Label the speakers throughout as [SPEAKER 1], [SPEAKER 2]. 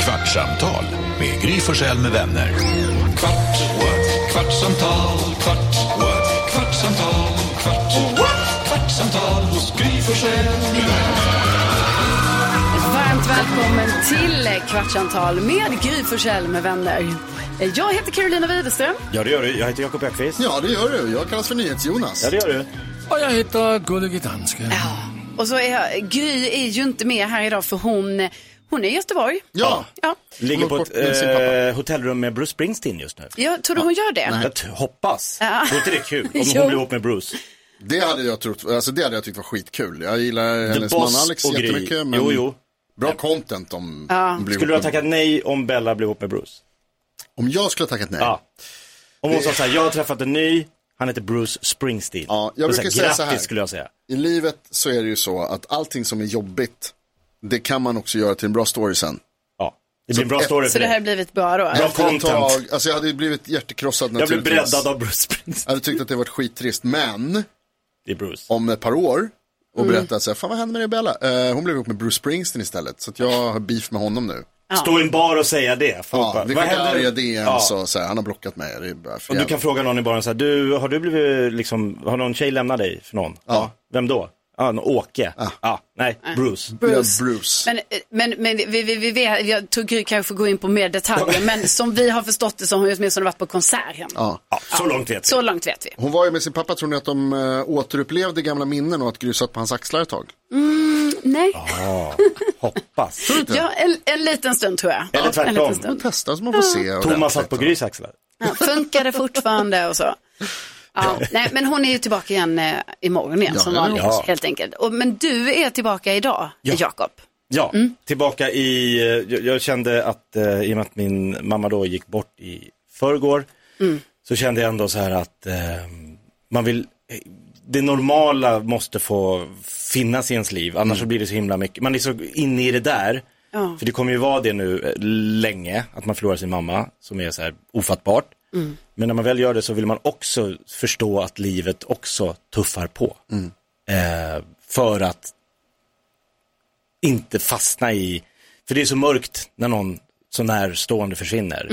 [SPEAKER 1] kvartsamtal med Gry Forssell med vänner. Kvart, what? kvartsamtal, kvart, what? kvartsamtal, kvart, what? kvartsamtal, Gry Forssell med vänner.
[SPEAKER 2] Varmt välkommen till Kvartsantal med Gry Forssell med vänner. Jag heter Carolina Widerström.
[SPEAKER 3] Ja, det gör du. Jag heter Jakob Ekqvist.
[SPEAKER 4] Ja, det gör du. Jag kallas för NyhetsJonas.
[SPEAKER 3] Ja, det gör du.
[SPEAKER 5] Och jag heter Gullige Dansken.
[SPEAKER 2] Och så är jag, Gry är ju inte med här idag för hon, hon är i Göteborg.
[SPEAKER 4] Ja.
[SPEAKER 2] Ja,
[SPEAKER 3] Ligger på
[SPEAKER 4] Kommer
[SPEAKER 3] ett
[SPEAKER 4] bort med sin pappa.
[SPEAKER 3] eh, hotellrum med Bruce Springsteen just nu.
[SPEAKER 2] jag tror du hon gör det?
[SPEAKER 3] Jag t- hoppas.
[SPEAKER 2] Ja.
[SPEAKER 3] Vore inte det kul om
[SPEAKER 2] Jo.
[SPEAKER 3] hon blir ihop med Bruce?
[SPEAKER 4] Det hade jag trott, alltså det hade jag tyckt var skitkul. Jag gillar
[SPEAKER 3] The
[SPEAKER 4] hennes man
[SPEAKER 3] Boss
[SPEAKER 4] Alex
[SPEAKER 3] och Gry.
[SPEAKER 4] jättemycket. Men
[SPEAKER 3] Jo, jo.
[SPEAKER 4] Bra content om om blir
[SPEAKER 3] Skulle du ha
[SPEAKER 4] ihop med-
[SPEAKER 3] tackat nej om Bella blev ihop med Bruce?
[SPEAKER 4] Om jag skulle ha tackat nej?
[SPEAKER 3] Ja. Om hon sa så här, jag har träffat en ny, han heter Bruce Springsteen.
[SPEAKER 4] Ja, jag
[SPEAKER 3] Då
[SPEAKER 4] brukar säga
[SPEAKER 3] grattis,
[SPEAKER 4] så här.
[SPEAKER 3] skulle jag säga.
[SPEAKER 4] I livet så är det ju så att allting som är jobbigt, det kan man också göra till en bra story sen.
[SPEAKER 3] Ja. Det blir en bra
[SPEAKER 4] ett-
[SPEAKER 3] story
[SPEAKER 2] Så
[SPEAKER 3] för
[SPEAKER 2] det här
[SPEAKER 3] dig.
[SPEAKER 2] har blivit bra då?
[SPEAKER 3] Bra
[SPEAKER 4] Efter ett
[SPEAKER 3] content.
[SPEAKER 4] tag, alltså jag hade ju blivit hjärtekrossad
[SPEAKER 3] Jag blev
[SPEAKER 4] naturligtvis.
[SPEAKER 3] breddad av Bruce Springsteen.
[SPEAKER 4] Jag hade tyckt att det varit skittrist, men
[SPEAKER 3] Det är Bruce.
[SPEAKER 4] om ett par år och
[SPEAKER 3] Mm.
[SPEAKER 4] berättat så här, fan vad hände med dig Bella? Eh, hon blev ihop med Bruce Springsteen istället, så att jag har beef med honom nu.
[SPEAKER 3] Stå i en bar och säga det. Folk
[SPEAKER 4] Ja,
[SPEAKER 3] bara,
[SPEAKER 4] vi
[SPEAKER 3] "Vad
[SPEAKER 4] skickar
[SPEAKER 3] händer?"
[SPEAKER 4] arga DMs
[SPEAKER 3] Ja.
[SPEAKER 4] och så här, han har blockat mig. Det är bara för
[SPEAKER 3] Och du
[SPEAKER 4] jävla-
[SPEAKER 3] kan fråga någon i baren så här, du, har du blivit, liksom, har någon tjej lämnat dig för någon?
[SPEAKER 4] Ja.
[SPEAKER 3] Vem då? Ja, någon Åke. Ja. nej, Bruce.
[SPEAKER 4] Bruce. Bruce.
[SPEAKER 2] Men, men, men vi, vi, vi vet, jag tror Gry kanske får gå in på mer detaljer, men som vi har förstått det så har hon ju åtminstone varit på konserten.
[SPEAKER 4] Ja.
[SPEAKER 3] Ja, så långt vet
[SPEAKER 2] Så långt vet vi.
[SPEAKER 4] Hon var ju med sin pappa, tror ni att de eh, återupplevde gamla minnen och att Gry satt på hans axlar ett tag?
[SPEAKER 2] Nej,
[SPEAKER 3] vi. Hoppas.
[SPEAKER 2] ja, en, en liten stund tror jag.
[SPEAKER 3] Eller
[SPEAKER 2] Ja,
[SPEAKER 3] tvärtom.
[SPEAKER 2] En liten stund.
[SPEAKER 4] Testa så man får se. ordentligt.
[SPEAKER 3] Thomas satt på Grys axlar.
[SPEAKER 2] Ja, funkar det fortfarande och så. Ja, nej, men hon är ju tillbaka igen eh, imorgon igen
[SPEAKER 4] Ja,
[SPEAKER 2] som
[SPEAKER 4] det
[SPEAKER 2] vanligt
[SPEAKER 3] hoppas jag.
[SPEAKER 2] helt enkelt. Och, men du är tillbaka idag,
[SPEAKER 3] Ja.
[SPEAKER 2] Jakob.
[SPEAKER 3] Ja, tillbaka i, eh, jag, jag kände att eh, i och med att min mamma då gick bort i förrgår, så kände jag ändå så här att eh, man vill, eh, det normala måste få finnas i ens liv, annars så blir det så himla mycket, man är så inne i det där,
[SPEAKER 2] Ja.
[SPEAKER 3] för det kommer ju vara det nu eh, länge, att man förlorar sin mamma, som är så här ofattbart. Men när man väl gör det så vill man också förstå att livet också tuffar på. Eh, för att inte fastna i, för det är så mörkt när någon så närstående försvinner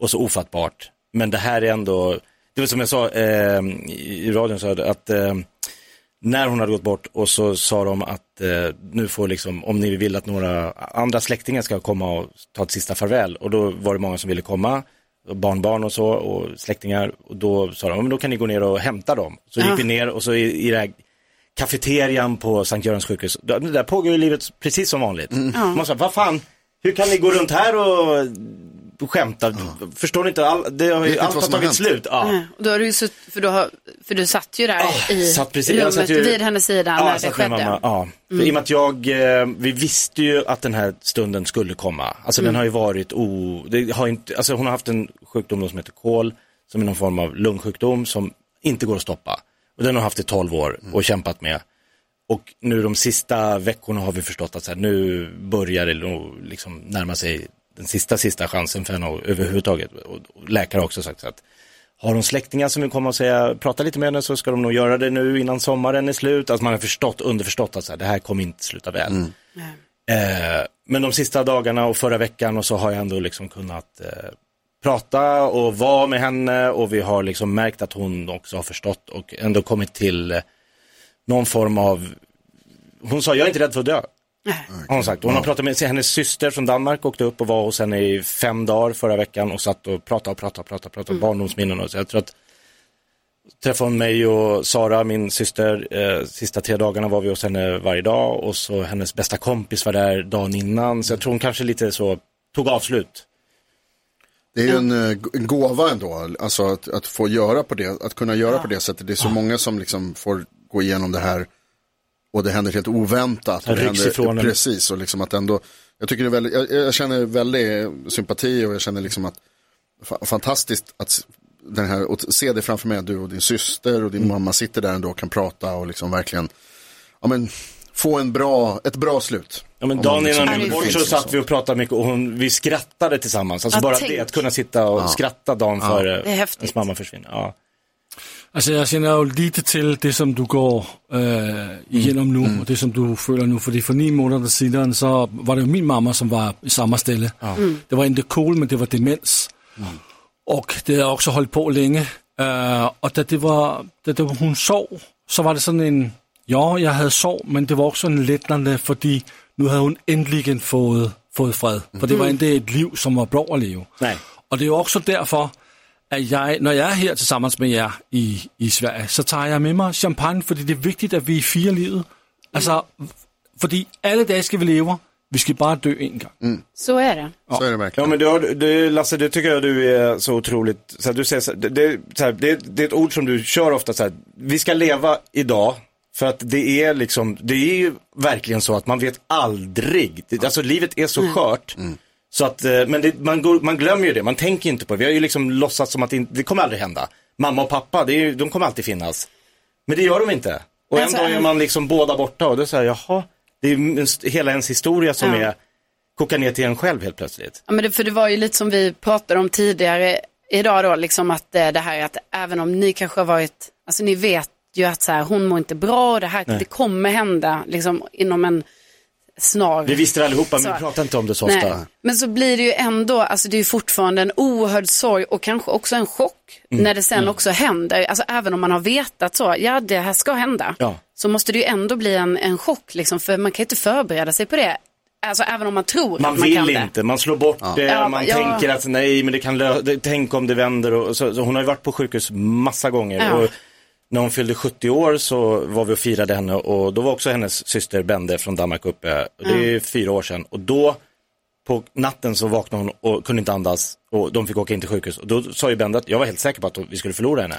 [SPEAKER 3] och så ofattbart. Men det här är ändå, det var som jag sa eh, i i radion, så hade- att eh, när hon hade gått bort och så sa de att eh, nu får liksom, om ni vill att några andra släktingar ska komma och ta ett sista farväl och då var det många som ville komma, och barnbarn och så och släktingar och då sa de, "Ja, men då kan ni gå ner och hämta dem. Så
[SPEAKER 4] Ah.
[SPEAKER 3] gick vi ner och så i, i det här kafeterian på Sankt Görans sjukhus. Där där pågår ju livet precis som vanligt.
[SPEAKER 4] Mm.
[SPEAKER 3] Man sa, vad fan, hur kan ni gå runt här och skämta? Förstår ni inte? All, det har
[SPEAKER 4] Vet
[SPEAKER 3] ju,
[SPEAKER 4] inte
[SPEAKER 3] allt har
[SPEAKER 4] vad som har
[SPEAKER 3] tagit
[SPEAKER 4] hänt.
[SPEAKER 3] slut. Ja.
[SPEAKER 2] Mm. Och då har du ju sutt, för, du har, för du satt ju där
[SPEAKER 3] Ah,
[SPEAKER 2] i
[SPEAKER 3] satt precis- jag
[SPEAKER 2] rummet
[SPEAKER 3] satt ju-
[SPEAKER 2] vid hennes sida
[SPEAKER 3] Ja,
[SPEAKER 2] när
[SPEAKER 3] jag
[SPEAKER 2] det
[SPEAKER 3] satt med
[SPEAKER 2] skedde. Mm.
[SPEAKER 3] mamma. Ja. För I och med att jag, eh, vi visste ju att den här stunden skulle komma. Alltså
[SPEAKER 2] Mm.
[SPEAKER 3] den har ju varit o... Det har ju inte, alltså, hon har haft en sjukdom då som heter KOL, som är någon form av lungsjukdom som inte går att stoppa. Och den har haft i 12 år och kämpat med. Och nu de sista veckorna har vi förstått att så här, nu börjar det nog liksom närma sig den sista, sista chansen för henne och- överhuvudtaget. Och, och läkare har också sagt så att har de släktingar som vill komma och säga, prata lite med henne så ska de nog göra det nu innan sommaren är slut. Alltså man har förstått, underförstått att så här, det här kommer inte sluta väl. Eh, men de sista dagarna och förra veckan och så har jag ändå liksom kunnat eh, prata och vara med henne och vi har liksom märkt att hon också har förstått och ändå kommit till eh, någon form av, hon sa jag är inte rädd för att dö. Har hon sagt. Hon har pratat med sig, hennes syster från Danmark åkte upp och var hos henne i fem dagar förra veckan och satt och pratade och pratade och pratade, pratade
[SPEAKER 2] Mm.
[SPEAKER 3] om barndomsminnen och så. Jag tror att träffade hon mig och Sara, min syster, eh, sista tre dagarna var vi hos henne varje dag och så hennes bästa kompis var där dagen innan. Så jag tror hon kanske lite så tog avslut.
[SPEAKER 4] Det är ju en, eh, g- en gåva ändå, alltså att, att få göra på det, att kunna göra på det sättet. Det är så många som liksom får gå igenom det här och det händer helt oväntat.
[SPEAKER 3] Det
[SPEAKER 4] Och det
[SPEAKER 3] rycks ifrån
[SPEAKER 4] händer,
[SPEAKER 3] en.
[SPEAKER 4] precis, och liksom att ändå, jag tycker det är väldigt, jag, jag känner väldigt sympati och jag känner liksom att, fa- fantastiskt att s- den här, och se det framför mig, att du och din syster och din
[SPEAKER 3] Mm.
[SPEAKER 4] mamma sitter där ändå och kan prata och liksom verkligen, ja men, få en bra, ett bra slut.
[SPEAKER 3] Ja, men
[SPEAKER 4] Om
[SPEAKER 3] dagen
[SPEAKER 4] man
[SPEAKER 3] innan
[SPEAKER 4] liksom-
[SPEAKER 3] hon gick
[SPEAKER 4] det
[SPEAKER 3] bort
[SPEAKER 4] finns
[SPEAKER 3] så
[SPEAKER 4] liksom
[SPEAKER 3] satt vi och pratade mycket och hon, vi skrattade tillsammans. Alltså
[SPEAKER 2] Ja,
[SPEAKER 3] bara
[SPEAKER 2] tänk.
[SPEAKER 3] det, att kunna sitta och skratta dagen före
[SPEAKER 2] Det är häftigt.
[SPEAKER 3] ens mamma försvinner. Ja.
[SPEAKER 5] Altså, jeg kender jo lidt til det, som du går øh, igennem nu, og det, som du føler nu. Fordi for ni måneder siden, så var det jo min mamma, som var i samme ställe. Det var ikke kol, men det var demens. Og det har også holdt på længe. Øh, og da, det var, da det var, hun sov, så var det sådan en, ja, jeg havde sov, men det var også sådan letnande, fordi nu havde hun endelig igen fået, fået fred. For det var ikke et liv, som var blå at leve.
[SPEAKER 3] Nej.
[SPEAKER 5] Og det er jo også derfor, at jeg, når jeg er her tilsammens med jer i, i Sverige, så tager jeg med mig champagne, fordi det er vigtigt, at vi er fire livet. Altså, fordi alle dage skal vi leve, vi skal bare dø en gang. Mm.
[SPEAKER 2] Så är det.
[SPEAKER 4] Så är det
[SPEAKER 3] Ja
[SPEAKER 4] verkligen.
[SPEAKER 3] men du, har- du, Lasse, det tycker jag du är så otroligt, så här, du säger så här, det, det, så här, det, det är ett ord som du kör ofta så här, vi ska leva idag, för att det är liksom, det är ju verkligen så att man vet aldrig, det, alltså livet är så skört. Så att, eh, men det, man, går, man glömmer ju det, man tänker inte på det. Vi har ju liksom låtsats som att det, inte- det kommer aldrig hända. Mamma och pappa, det är, ju- de kommer alltid finnas. Men det gör de inte. Och
[SPEAKER 2] Alltså,
[SPEAKER 3] en dag är
[SPEAKER 2] en-
[SPEAKER 3] man liksom båda borta och då säger jaha, det är ju en st- hela ens historia som
[SPEAKER 2] Ja.
[SPEAKER 3] är, kokar ner till en själv helt plötsligt.
[SPEAKER 2] Ja, men det, för det var ju lite som vi pratade om tidigare idag då, liksom att eh, det här att även om ni kanske har varit, alltså ni vet ju att så här, hon mår inte bra och det här, det kommer hända liksom inom en snar.
[SPEAKER 3] Vi visste det allihopa, men
[SPEAKER 2] Så-
[SPEAKER 3] vi pratar inte om det så
[SPEAKER 2] Nej.
[SPEAKER 3] ofta.
[SPEAKER 2] Men så blir det ju ändå, alltså det är ju fortfarande en oerhörd sorg och kanske också en chock
[SPEAKER 3] Mm,
[SPEAKER 2] när det sen också händer. Alltså även om man har vetat så, ja det här ska hända,
[SPEAKER 3] Ja.
[SPEAKER 2] så måste det ju ändå bli en, en chock liksom, för man kan ju inte förbereda sig på det. Alltså även om man tror
[SPEAKER 3] Man
[SPEAKER 2] att man
[SPEAKER 3] vill
[SPEAKER 2] kan det.
[SPEAKER 3] inte, man slår bort det,
[SPEAKER 2] Ja,
[SPEAKER 3] man
[SPEAKER 2] ja.
[SPEAKER 3] tänker att nej, men det kan lö- det- tänk om det vänder. Och, så, så hon har ju varit på sjukhus massa gånger.
[SPEAKER 2] Ja.
[SPEAKER 3] Och när hon fyllde 70 år så var vi och firade henne och då var också hennes syster Bende från Danmark uppe. Och Det är fyra år sedan. Och då på natten så vaknade hon och kunde inte andas och de fick åka in till sjukhus. Och då sa ju Bende att jag var helt säker på att vi skulle förlora henne.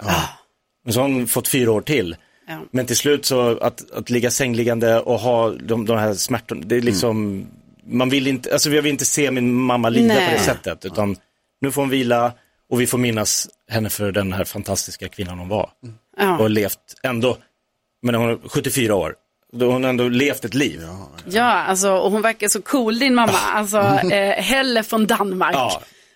[SPEAKER 3] Men så har hon fått fyra år till.
[SPEAKER 2] Ah. Ja.
[SPEAKER 3] Men till slut så att, att ligga sängliggande och ha de, de här smärtorna, det är liksom, man vill inte, alltså jag vill inte se min mamma lida på
[SPEAKER 2] Nej.
[SPEAKER 3] det sättet. Utan nu får hon vila och vi får minnas henne för den här fantastiska kvinnan hon var. Och
[SPEAKER 2] Mm. Ja.
[SPEAKER 3] har levt ändå, men hon är 74 år, då hon har ändå levt ett liv.
[SPEAKER 2] ja, alltså och hon verkar så cool din mamma, alltså eh, Helle från Danmark.
[SPEAKER 3] Ah.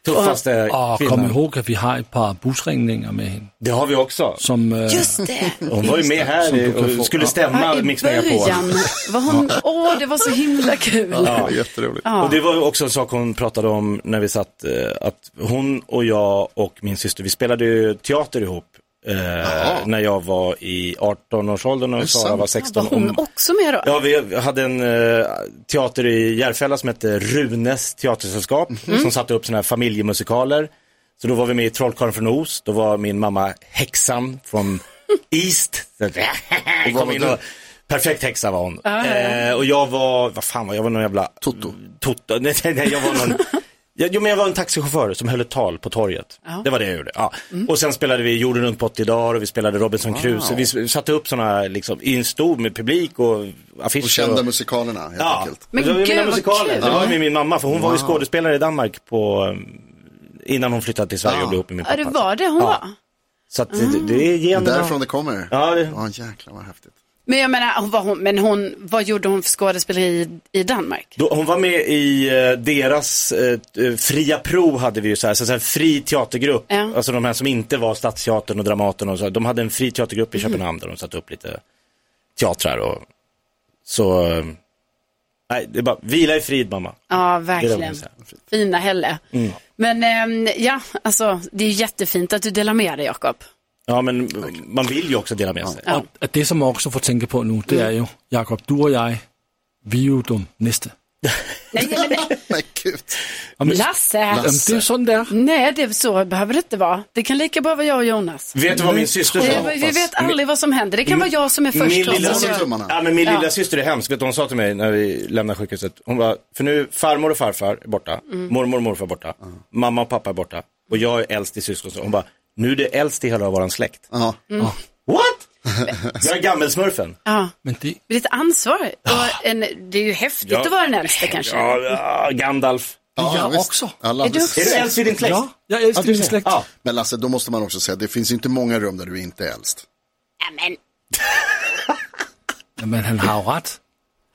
[SPEAKER 3] Ja, tuffaste
[SPEAKER 5] Og Ah, kom
[SPEAKER 3] kvinnan.
[SPEAKER 5] ihåg, at vi har et par busringninger med hende,
[SPEAKER 3] Det har vi också.
[SPEAKER 5] som... Øh,
[SPEAKER 2] Just det.
[SPEAKER 3] Hon var ju med
[SPEAKER 5] Som du
[SPEAKER 3] här
[SPEAKER 5] kan få.
[SPEAKER 3] och skulle stämma
[SPEAKER 2] Ja, I
[SPEAKER 3] Mix Megapol.
[SPEAKER 2] början var hon, åh det var så himla kul.
[SPEAKER 4] Ja, jätteroligt.
[SPEAKER 3] Och det var ju också en sak hon pratade om när vi satt, eh, att hon och jag och min syster, vi spelade ju teater ihop eh, när jag var i 18-årsåldern och Sara
[SPEAKER 4] sant?
[SPEAKER 3] var
[SPEAKER 2] Var
[SPEAKER 3] 16.
[SPEAKER 2] hon
[SPEAKER 3] Och-
[SPEAKER 2] också med då?
[SPEAKER 3] Ja, vi hade en eh, teater i Järfälla som hette Runes teatersällskap
[SPEAKER 2] Mhm.
[SPEAKER 3] som satte upp sådana här familjemusikaler. Så då var vi med i Trollkarlen från Oz, då var min mamma häxan från East. Så- Kom in och, perfekt häxa var hon. Eh, och jag var, vad fan var jag, jag var någon jävla...
[SPEAKER 4] Toto.
[SPEAKER 3] Toto, nej, nej, nej jag var någon... Jag, jo, men jag var en taxichaufför som höll ett tal på torget. Det var det jag gjorde. Ja.
[SPEAKER 2] Mm.
[SPEAKER 3] Och sen spelade vi jorden runt på 80 dagar och vi spelade Robinson Crusoe. Vi s- satte upp sådana liksom, i en stor med publik och affischer.
[SPEAKER 4] Och kända musikalerna helt
[SPEAKER 3] Ja,
[SPEAKER 4] enkelt.
[SPEAKER 2] Men
[SPEAKER 3] men det var ju
[SPEAKER 2] gud,
[SPEAKER 3] mina
[SPEAKER 2] vad
[SPEAKER 3] musikaler.
[SPEAKER 2] kul.
[SPEAKER 3] Det var ju med min mamma, för hon var ju skådespelare i Danmark på, um, innan hon flyttade till Sverige och blev ihop med min
[SPEAKER 2] Ja,
[SPEAKER 3] pappa.
[SPEAKER 2] det var det Ah. hon
[SPEAKER 3] Ja.
[SPEAKER 2] var.
[SPEAKER 3] Så att det, det är generna.
[SPEAKER 4] Därifrån det kommer.
[SPEAKER 3] Ja, det-
[SPEAKER 4] Ja, jäklar vad häftigt.
[SPEAKER 2] Men jag menar, hon var hon, men hon, vad gjorde hon för skådespeleri i, i Danmark?
[SPEAKER 3] Då, hon var med i eh, deras eh, t- eh, fria prov hade vi ju så här, så så här fri teatergrupp.
[SPEAKER 2] Ja.
[SPEAKER 3] Alltså de här som inte var Stadsteatern och Dramaten och så. här. De hade en fri teatergrupp i Köpenhamn där de satte upp lite teatrar och så. eh, Nej, det är bara vila i frid mamma.
[SPEAKER 2] Ja,
[SPEAKER 3] Det är det
[SPEAKER 2] verkligen.
[SPEAKER 3] hon säger. Mm.
[SPEAKER 2] Fina Helle. Men ehm, ja, alltså det är jättefint att du delar med dig Jakob.
[SPEAKER 3] Ja, men man vill ju också dela med sig.
[SPEAKER 5] Og at det, som jeg også får tænke på nu,
[SPEAKER 3] Mm.
[SPEAKER 5] det er jo, Jakob, du og jeg, vi er jo de næste.
[SPEAKER 2] Nej, nej, nej.
[SPEAKER 4] Men gud.
[SPEAKER 5] Jamen,
[SPEAKER 2] Lasse!
[SPEAKER 5] jamen, det er jo sådan, det er.
[SPEAKER 2] Nej, det är så behöver det inte vara. Det kan lika bra vara jag och Jonas.
[SPEAKER 3] Vet du vad min syster sa?
[SPEAKER 2] Det, vi vet aldrig vad som händer. Det kan vara jag som är
[SPEAKER 3] Min
[SPEAKER 2] först.
[SPEAKER 3] lilla,
[SPEAKER 4] Håller
[SPEAKER 2] också.
[SPEAKER 3] syster,
[SPEAKER 4] tummarna.
[SPEAKER 3] ja, men min
[SPEAKER 2] Ja.
[SPEAKER 3] lilla syster är hemsk. Vet du, hon sa till mig när vi lämnade sjukhuset. Hon var, för nu farmor och farfar är borta.
[SPEAKER 2] Mm.
[SPEAKER 3] Mormor och morfar är borta. Mamma och pappa är borta. Och jag är äldst i syskon. Så Hon bara, nu är det äldst i hela våran släkt.
[SPEAKER 4] Ja.
[SPEAKER 2] Mm.
[SPEAKER 3] What? jag är gammelsmurfen.
[SPEAKER 2] Ja,
[SPEAKER 5] Men det,
[SPEAKER 2] det är ett ansvar. Och en, det är ju häftigt
[SPEAKER 3] Ah. Ja.
[SPEAKER 2] att vara den äldste kanske.
[SPEAKER 3] Ja, ja, Gandalf.
[SPEAKER 4] Ja,
[SPEAKER 5] jag
[SPEAKER 4] visst.
[SPEAKER 5] också.
[SPEAKER 4] Alla
[SPEAKER 2] Är du
[SPEAKER 4] visst.
[SPEAKER 3] Är du äldst i din släkt?
[SPEAKER 5] ja, jag elsker din slægt.
[SPEAKER 3] Ja.
[SPEAKER 4] Men Lasse, då måste man också säga, det finns inte många rum där du inte är äldst.
[SPEAKER 2] Ja, men,
[SPEAKER 5] Jamen, han har jo ret.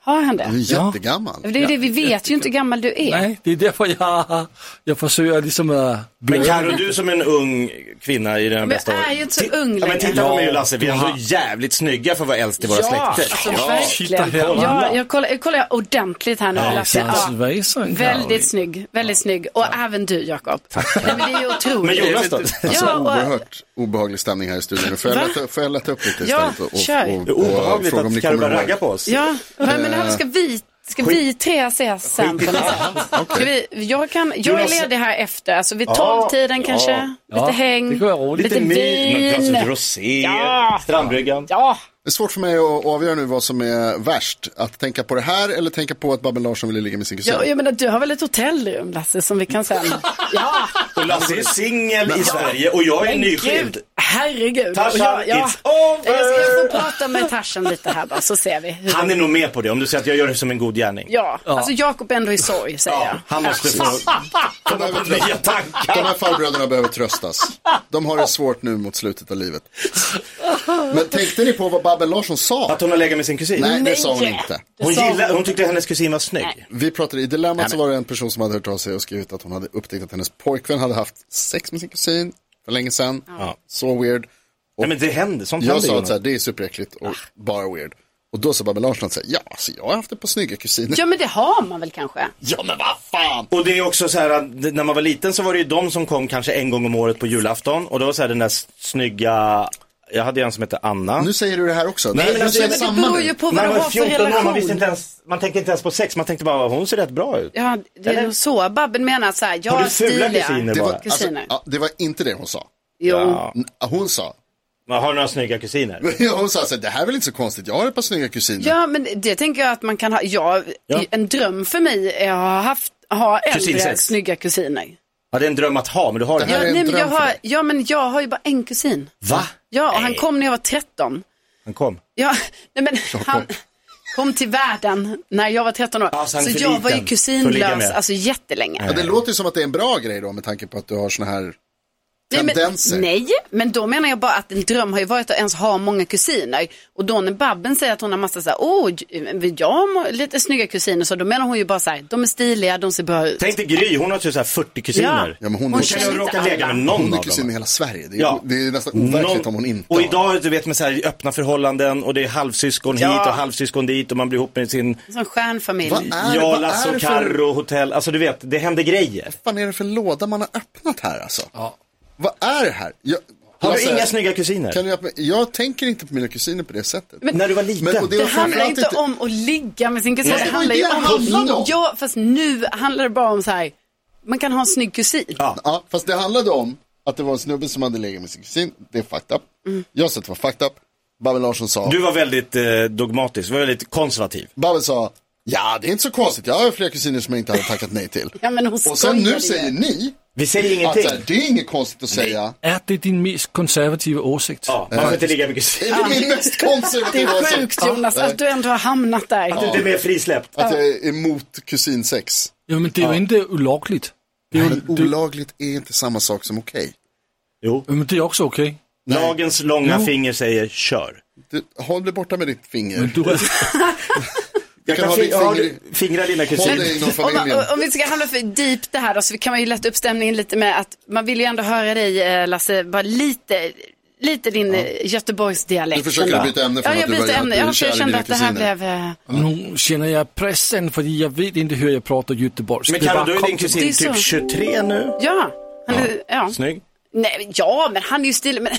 [SPEAKER 2] Har han
[SPEAKER 4] Du är
[SPEAKER 2] det?
[SPEAKER 4] jättegammal.
[SPEAKER 2] Det är ju det, vi vet ju inte hur gammal du är.
[SPEAKER 5] Nej, det är därför jag, jag försöker liksom att
[SPEAKER 3] Men Carro, du som en ung kvinna i den
[SPEAKER 2] Men
[SPEAKER 3] bästa
[SPEAKER 2] jag är ju inte så ung
[SPEAKER 3] ja, men
[SPEAKER 2] längre.
[SPEAKER 3] titta på mig och Lasse, vi är ändå jävligt snygga för att vara äldst i våra
[SPEAKER 2] Ja, alltså
[SPEAKER 3] släkter.
[SPEAKER 2] verkligen.
[SPEAKER 5] Titta här.
[SPEAKER 2] Ja, jag kollar, jag kollar ordentligt här nu. Lasse. Ja,
[SPEAKER 5] Svejsan, Carolina.
[SPEAKER 2] väldigt snygg, väldigt snygg. Och även du Jakob. Nej, men det är ju
[SPEAKER 3] Men
[SPEAKER 2] otroligt.
[SPEAKER 3] Jonas då?
[SPEAKER 2] Ja, och,
[SPEAKER 4] Oerhört Alltså, obehaglig stämning här i studion. Får
[SPEAKER 2] Va?
[SPEAKER 4] jag, lätta, får jag lätta upp lite
[SPEAKER 2] Ja,
[SPEAKER 4] istället? och,
[SPEAKER 2] kör.
[SPEAKER 4] och,
[SPEAKER 3] Det är
[SPEAKER 4] och, och
[SPEAKER 3] obehagligt
[SPEAKER 4] fråga om ni
[SPEAKER 3] att Carro
[SPEAKER 4] kommer
[SPEAKER 3] börjar
[SPEAKER 4] ihåg.
[SPEAKER 3] ragga på oss.
[SPEAKER 2] ja, men det
[SPEAKER 3] Eh,
[SPEAKER 2] här ska vi, ska vi tre ses sen på något sätt? Ska vi, jag, kan, jag
[SPEAKER 3] Jonas-
[SPEAKER 2] är ledig här efter, alltså vid tolvtiden kanske. Lite häng,
[SPEAKER 5] det kan vara roligt.
[SPEAKER 2] lite
[SPEAKER 3] något glas
[SPEAKER 2] vin.
[SPEAKER 3] rosé,
[SPEAKER 2] Ja.
[SPEAKER 3] strandbryggan.
[SPEAKER 2] Ja,
[SPEAKER 4] Det är svårt för mig att avgöra nu vad som är värst. Att tänka på det här eller tänka på att Babben Larsson ville ligga med sin kusin.
[SPEAKER 2] jag, jag menar du har väl ett hotellrum Lasse som vi kan sen. Ja,
[SPEAKER 3] Och Lasse är singel i Sverige och jag är
[SPEAKER 2] men
[SPEAKER 3] nyskild.
[SPEAKER 2] gud, herregud. Och
[SPEAKER 3] Tarzan,
[SPEAKER 2] jag- ja.
[SPEAKER 3] it's over!
[SPEAKER 2] Jag ska jag får prata med Tarzan lite här bara så ser vi. Hur...
[SPEAKER 3] Han är nog med på det om du säger att jag gör det som en god gärning.
[SPEAKER 2] Ja, alltså Jakob är ändå i sorg säger
[SPEAKER 3] Ja,
[SPEAKER 2] jag.
[SPEAKER 3] han måste få
[SPEAKER 4] de,
[SPEAKER 3] komma på
[SPEAKER 4] behöver,
[SPEAKER 3] nya
[SPEAKER 4] de
[SPEAKER 3] tankar.
[SPEAKER 4] här farbröderna behöver tröstas. De har det svårt nu mot slutet av livet. Men tänkte ni på vad Babben Larsson sa?
[SPEAKER 3] Att hon har legat med sin kusin?
[SPEAKER 4] Nej, det
[SPEAKER 2] Nej.
[SPEAKER 4] sa hon inte.
[SPEAKER 3] Hon,
[SPEAKER 2] sa
[SPEAKER 3] gillade, hon tyckte hennes kusin var snygg.
[SPEAKER 4] Vi pratade, i Dilemmat så var det en person som hade hört av sig och skrivit att hon hade upptäckt att hennes pojkvän hade haft sex med sin kusin för länge sedan. Så weird. Och
[SPEAKER 3] Nej men det händer, sånt
[SPEAKER 4] jag
[SPEAKER 3] händer
[SPEAKER 4] sa
[SPEAKER 3] ju.
[SPEAKER 4] att så här, det är superäckligt och bara weird. Och då sa Babben Larsson att så här, ja, så jag har haft ett par snygga kusiner.
[SPEAKER 2] Ja men det har man väl kanske.
[SPEAKER 4] Ja, men vad fan!
[SPEAKER 3] Och det är också så här att när man var liten så var det ju de som kom kanske en gång om året på julafton och då var så här den där snygga, jag hade ju en som hette Anna.
[SPEAKER 4] Nu säger du det här också. Nej,
[SPEAKER 3] men alltså,
[SPEAKER 4] säger
[SPEAKER 3] men
[SPEAKER 2] Det
[SPEAKER 3] det
[SPEAKER 4] samma
[SPEAKER 2] beror
[SPEAKER 4] nu.
[SPEAKER 2] ju på vad
[SPEAKER 3] man
[SPEAKER 2] du
[SPEAKER 3] var
[SPEAKER 2] har för
[SPEAKER 3] 14 år, man visste
[SPEAKER 2] relation.
[SPEAKER 3] inte ens, man tänkte inte ens på sex, man tänkte bara hon ser rätt bra ut.
[SPEAKER 2] Ja, det är
[SPEAKER 3] Eller?
[SPEAKER 2] nog så. Babben menar så här, jag
[SPEAKER 3] Har
[SPEAKER 2] har
[SPEAKER 3] du fula kusiner
[SPEAKER 2] stiliga
[SPEAKER 4] Det var,
[SPEAKER 3] bara?
[SPEAKER 4] alltså,
[SPEAKER 2] kusiner.
[SPEAKER 4] ja, det var inte det hon sa.
[SPEAKER 2] Jo,
[SPEAKER 3] Ja.
[SPEAKER 4] N- Hon sa,
[SPEAKER 3] Man har några snygga kusiner.
[SPEAKER 4] hon sa så här, det här är väl inte så konstigt, jag har ett par snygga kusiner.
[SPEAKER 2] Ja, men det tänker jag att man kan ha. Ja,
[SPEAKER 3] Ja.
[SPEAKER 2] En dröm för mig är att ha, haft, ha äldre
[SPEAKER 3] Kusinsex.
[SPEAKER 2] snygga kusiner.
[SPEAKER 3] Ja, det är en dröm att ha, men du har
[SPEAKER 4] Det
[SPEAKER 3] det.
[SPEAKER 4] här
[SPEAKER 2] Ja,
[SPEAKER 4] är en
[SPEAKER 2] nej, men
[SPEAKER 4] dröm
[SPEAKER 2] jag
[SPEAKER 4] för
[SPEAKER 2] har,
[SPEAKER 4] dig.
[SPEAKER 2] ja, men jag har ju bara en kusin.
[SPEAKER 3] Va?
[SPEAKER 2] Ja, och han kom när jag var 13.
[SPEAKER 3] Han kom.
[SPEAKER 2] Ja, nej, men han kom till världen när jag var 13 år.
[SPEAKER 3] Ja, så
[SPEAKER 2] så
[SPEAKER 3] han är för
[SPEAKER 2] jag var ju
[SPEAKER 3] liten för att ligga
[SPEAKER 2] kusinlös
[SPEAKER 3] med.
[SPEAKER 2] alltså, jättelänge.
[SPEAKER 4] Ja, det låter ju som att det är en bra grej då med tanke på att du har såna här
[SPEAKER 2] Nej men,
[SPEAKER 4] tendenser.
[SPEAKER 2] nej, men då menar jag bara att en dröm har ju varit att ens ha många kusiner. Och då när Babben säger att hon har massa så här, åh, jag har må- lite snygga kusiner, så då menar hon ju bara så här, de är stiliga, de ser bra ut.
[SPEAKER 3] Tänk dig Gry, hon har typ så här 40 kusiner.
[SPEAKER 4] Ja, men
[SPEAKER 2] Hon
[SPEAKER 4] hon är
[SPEAKER 3] Kan
[SPEAKER 2] känner
[SPEAKER 3] jag
[SPEAKER 2] inte
[SPEAKER 3] råka
[SPEAKER 2] alla.
[SPEAKER 3] lägga med någon
[SPEAKER 4] Hon är
[SPEAKER 3] av
[SPEAKER 4] kusin
[SPEAKER 3] dem?
[SPEAKER 4] i hela Sverige. Det är,
[SPEAKER 3] Ja.
[SPEAKER 4] det är nästan overkligt om hon inte
[SPEAKER 3] Och
[SPEAKER 4] har.
[SPEAKER 3] idag, du vet med så här öppna förhållanden och det är halvsyskon hit och halvsyskon dit och man blir ihop med sin
[SPEAKER 2] Som stjärnfamilj.
[SPEAKER 4] Vad är, det-
[SPEAKER 3] Ja,
[SPEAKER 4] vad är
[SPEAKER 3] Lasse
[SPEAKER 4] det
[SPEAKER 3] och
[SPEAKER 4] för,
[SPEAKER 3] Carro, hotell, alltså du vet, det händer grejer.
[SPEAKER 4] fan är det för låda man har öppnat här alltså? Vad är det här? Jag,
[SPEAKER 3] Har
[SPEAKER 4] Lasse,
[SPEAKER 3] du inga snygga kusiner?
[SPEAKER 4] kan du hjälpa mig? jag tänker inte på mina kusiner på det sättet.
[SPEAKER 3] När du var liten?
[SPEAKER 4] Men- och det-
[SPEAKER 2] Det
[SPEAKER 4] var
[SPEAKER 2] handlar
[SPEAKER 4] framförallt
[SPEAKER 2] inte
[SPEAKER 4] inte-
[SPEAKER 2] om att ligga med sin kusin.
[SPEAKER 4] det var ju
[SPEAKER 2] handlar
[SPEAKER 4] det
[SPEAKER 2] ju
[SPEAKER 4] det
[SPEAKER 2] om...
[SPEAKER 4] handlade om.
[SPEAKER 2] Ja, fast nu handlar det bara om så här, man kan ha en snygg kusin.
[SPEAKER 4] Ja, fast det handlade om att det var en snubbe som hade legat med sin kusin. Det är fucked up. Jag sa att det var fucked up. Babben Larsson sa,
[SPEAKER 3] Mm. Du var väldigt eh, dogmatisk, du var väldigt konservativ.
[SPEAKER 4] Babben sa, ja det är inte så konstigt. Jag har fler kusiner som jag inte hade tackat nej till.
[SPEAKER 2] Ja, men hon
[SPEAKER 4] Och
[SPEAKER 2] skojar
[SPEAKER 4] sen
[SPEAKER 2] ju.
[SPEAKER 4] nu säger ni
[SPEAKER 3] Vi säger
[SPEAKER 4] att
[SPEAKER 3] ingenting.
[SPEAKER 4] så här, det är inget konstigt att säga.
[SPEAKER 5] Är det din mest konservativa åsikt?
[SPEAKER 3] Ja, man får inte ligga med kusiner.
[SPEAKER 4] Det är min mest
[SPEAKER 2] Det
[SPEAKER 4] konservativa
[SPEAKER 2] är
[SPEAKER 4] åsikt.
[SPEAKER 2] sjukt Jonas, att du ändå har hamnat där.
[SPEAKER 3] Det är mer frisläppt.
[SPEAKER 4] Att jag är emot kusinsex.
[SPEAKER 5] Ja, men det är ju inte olagligt. Det är, ju,
[SPEAKER 4] Men
[SPEAKER 5] det,
[SPEAKER 4] olagligt är inte samma sak som okej.
[SPEAKER 3] Jo.
[SPEAKER 5] men det är också okej.
[SPEAKER 3] Lagens långa finger säger kör.
[SPEAKER 4] Du, Håll dig borta med ditt finger.
[SPEAKER 5] Du,
[SPEAKER 4] Jag kan ha
[SPEAKER 3] fi-
[SPEAKER 4] ditt
[SPEAKER 3] har
[SPEAKER 4] finger. i-
[SPEAKER 3] du fingra dina
[SPEAKER 4] Håll
[SPEAKER 3] kusiner.
[SPEAKER 4] dig inom
[SPEAKER 2] Om, man,
[SPEAKER 4] familjen.
[SPEAKER 2] om- om vi ska handla för deep det här då, så kan man ju lätta upp stämningen lite med att man vill ju ändå höra dig eh, Lasse, bara lite, lite din ja. Göteborgsdialekt.
[SPEAKER 4] Du försöker
[SPEAKER 2] ändå.
[SPEAKER 4] byta ämne från
[SPEAKER 2] ja,
[SPEAKER 4] att
[SPEAKER 2] jag
[SPEAKER 4] du
[SPEAKER 2] byter
[SPEAKER 4] var-
[SPEAKER 2] ämne.
[SPEAKER 4] att du
[SPEAKER 2] Ja,
[SPEAKER 4] är
[SPEAKER 2] för
[SPEAKER 4] kär i
[SPEAKER 2] jag kände
[SPEAKER 4] dina
[SPEAKER 2] att det här
[SPEAKER 4] kusiner.
[SPEAKER 2] blev... eh,
[SPEAKER 5] nu känner jag pressen för jag vet inte hur jag pratar göteborgsk.
[SPEAKER 3] Men
[SPEAKER 5] Det
[SPEAKER 3] Carro,
[SPEAKER 5] bara
[SPEAKER 3] du är
[SPEAKER 5] kom
[SPEAKER 3] din
[SPEAKER 5] till-
[SPEAKER 2] Det
[SPEAKER 3] kusin
[SPEAKER 2] är så.
[SPEAKER 3] typ 23 nu.
[SPEAKER 2] Ja, han är, ja.
[SPEAKER 3] Snygg.
[SPEAKER 2] Nej, men- ja, men han är ju stilig. Men,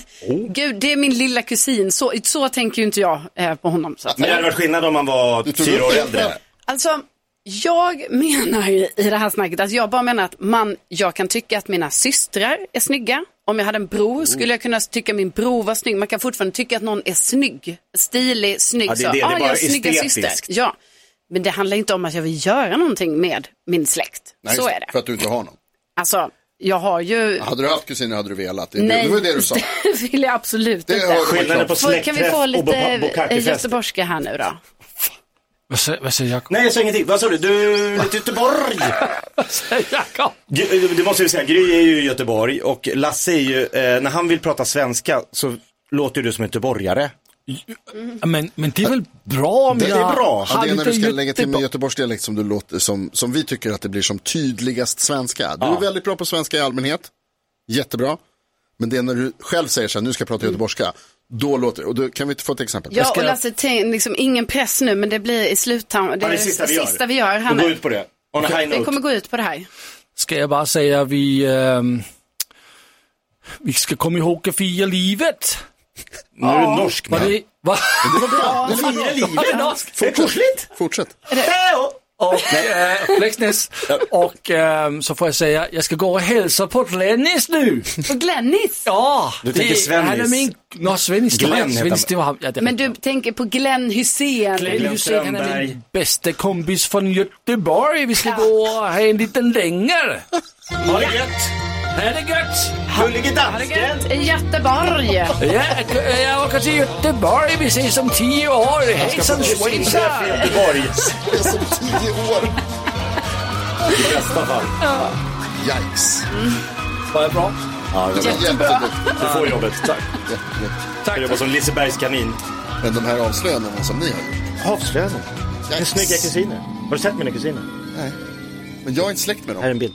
[SPEAKER 2] Gud, det är min lilla kusin. Så, så tänker ju inte jag eh, på honom. Så att
[SPEAKER 3] Men det
[SPEAKER 2] säga.
[SPEAKER 3] hade varit skillnad om man var
[SPEAKER 4] tog
[SPEAKER 3] fyra
[SPEAKER 4] upp
[SPEAKER 3] år
[SPEAKER 4] det.
[SPEAKER 3] äldre.
[SPEAKER 2] Alltså, jag menar ju i det här snacket att jag bara menar att man, jag kan tycka att mina systrar är snygga. Om jag hade en
[SPEAKER 3] Mm.
[SPEAKER 2] bror skulle jag kunna tycka min bror var snygg. Man kan fortfarande tycka att någon är snygg, stilig, snygg.
[SPEAKER 3] Ja, det
[SPEAKER 2] så,
[SPEAKER 3] är det. Det är
[SPEAKER 2] ah, jag
[SPEAKER 3] bara
[SPEAKER 2] har snygga
[SPEAKER 3] estetiskt.
[SPEAKER 2] syster. Ja. Men det handlar inte om att jag vill göra någonting med min släkt.
[SPEAKER 4] Nej,
[SPEAKER 2] så är det.
[SPEAKER 4] För att du inte har någon.
[SPEAKER 2] Alltså, jag har ju...
[SPEAKER 4] Hade du haft kusiner hade du velat. Det, är det,
[SPEAKER 2] Nej,
[SPEAKER 4] det var det du sa.
[SPEAKER 2] det vill jag absolut
[SPEAKER 4] Det
[SPEAKER 2] inte.
[SPEAKER 4] har-
[SPEAKER 3] Skillnaden på
[SPEAKER 2] Får, kan vi
[SPEAKER 3] släktträff
[SPEAKER 2] få
[SPEAKER 3] och
[SPEAKER 2] lite
[SPEAKER 3] bo-
[SPEAKER 2] eh,
[SPEAKER 3] bukakefest.
[SPEAKER 2] göteborgska här nu då?
[SPEAKER 5] Vad säger, vad säger Jakob?
[SPEAKER 3] Nej, jag sa ingenting. Vad sa du? Du är Göteborg.
[SPEAKER 5] Jakob!
[SPEAKER 3] Gry- Det måste vi säga, Gry är ju i Göteborg och Lasse är ju, eh, när han vill prata svenska så låter du som en göteborgare.
[SPEAKER 5] Mm. Men, men det är väl bra om
[SPEAKER 4] Det är
[SPEAKER 5] jag
[SPEAKER 4] bra. Ja,
[SPEAKER 5] har
[SPEAKER 4] det är när
[SPEAKER 5] lite
[SPEAKER 4] du ska lägga till med
[SPEAKER 5] jättebra-
[SPEAKER 4] Göteborgsdialekt som, du låter, som, som vi tycker att det blir som tydligast svenska. Du är väldigt bra på svenska i allmänhet. Jättebra. Men det är när du själv säger så här, nu ska jag prata göteborgska. Då låter det, och då, kan vi inte få ett exempel?
[SPEAKER 2] Ja, och Lasse, tänk, liksom, ingen press nu, men det blir i sluttampen. Det
[SPEAKER 3] Ja,
[SPEAKER 2] är
[SPEAKER 3] det sista vi gör.
[SPEAKER 2] sista vi gör här
[SPEAKER 3] Och gå
[SPEAKER 2] nu.
[SPEAKER 3] ut på det. On a high
[SPEAKER 2] Det
[SPEAKER 3] note.
[SPEAKER 2] kommer gå ut på det här.
[SPEAKER 5] ska jag bara säga vi, ehm, vi ska komma ihåg att fira livet.
[SPEAKER 3] Nu är du norsk
[SPEAKER 5] Var
[SPEAKER 3] man.
[SPEAKER 5] det, va?
[SPEAKER 4] Det var bra. Det var
[SPEAKER 3] Fira
[SPEAKER 4] bra.
[SPEAKER 5] Är det
[SPEAKER 3] livet!
[SPEAKER 5] norsk?
[SPEAKER 3] Det är kosligt!
[SPEAKER 4] Fortsätt.
[SPEAKER 5] Och eh, Lexnäs. Och ehm, så får jag säga, jag ska gå och hälsa på Glennis nu.
[SPEAKER 2] På Glennis.
[SPEAKER 5] Ja,
[SPEAKER 3] Du tänker Svennis.
[SPEAKER 5] Han är min, nå Svennis, det var-
[SPEAKER 3] Glenn heter
[SPEAKER 5] Svennis,
[SPEAKER 3] han.
[SPEAKER 5] det var han. Ja, det
[SPEAKER 2] Men du tänker på Glenn Hussein.
[SPEAKER 5] Glenn Hussein, han är
[SPEAKER 3] Strömberg.
[SPEAKER 5] min bästa kompis från Göteborg. Vi ska gå och ha en liten längre.
[SPEAKER 3] Ha det gött!
[SPEAKER 5] Ha det gött!
[SPEAKER 3] Gullige dansken!
[SPEAKER 2] I Göteborg.
[SPEAKER 5] Ja, jag åker till Göteborg. Vi ses om tio år. Hejsan svejsan!
[SPEAKER 3] Göteborg!
[SPEAKER 4] Det är som tio år.
[SPEAKER 3] I bästa fall.
[SPEAKER 4] Yikes.
[SPEAKER 5] Var det bra?
[SPEAKER 4] Ja, det var
[SPEAKER 2] Jättebra.
[SPEAKER 3] Du får jobbet. Tack.
[SPEAKER 4] jättebra.
[SPEAKER 3] Jag jobbar som Lisebergskanin.
[SPEAKER 4] Men de här avslöjandena som ni har gjort.
[SPEAKER 3] Havslöven.
[SPEAKER 4] Yikes.
[SPEAKER 3] kusiner. Har du sett mina kusiner?
[SPEAKER 4] Nej. Men jag är inte släkt med dem.
[SPEAKER 3] en bild.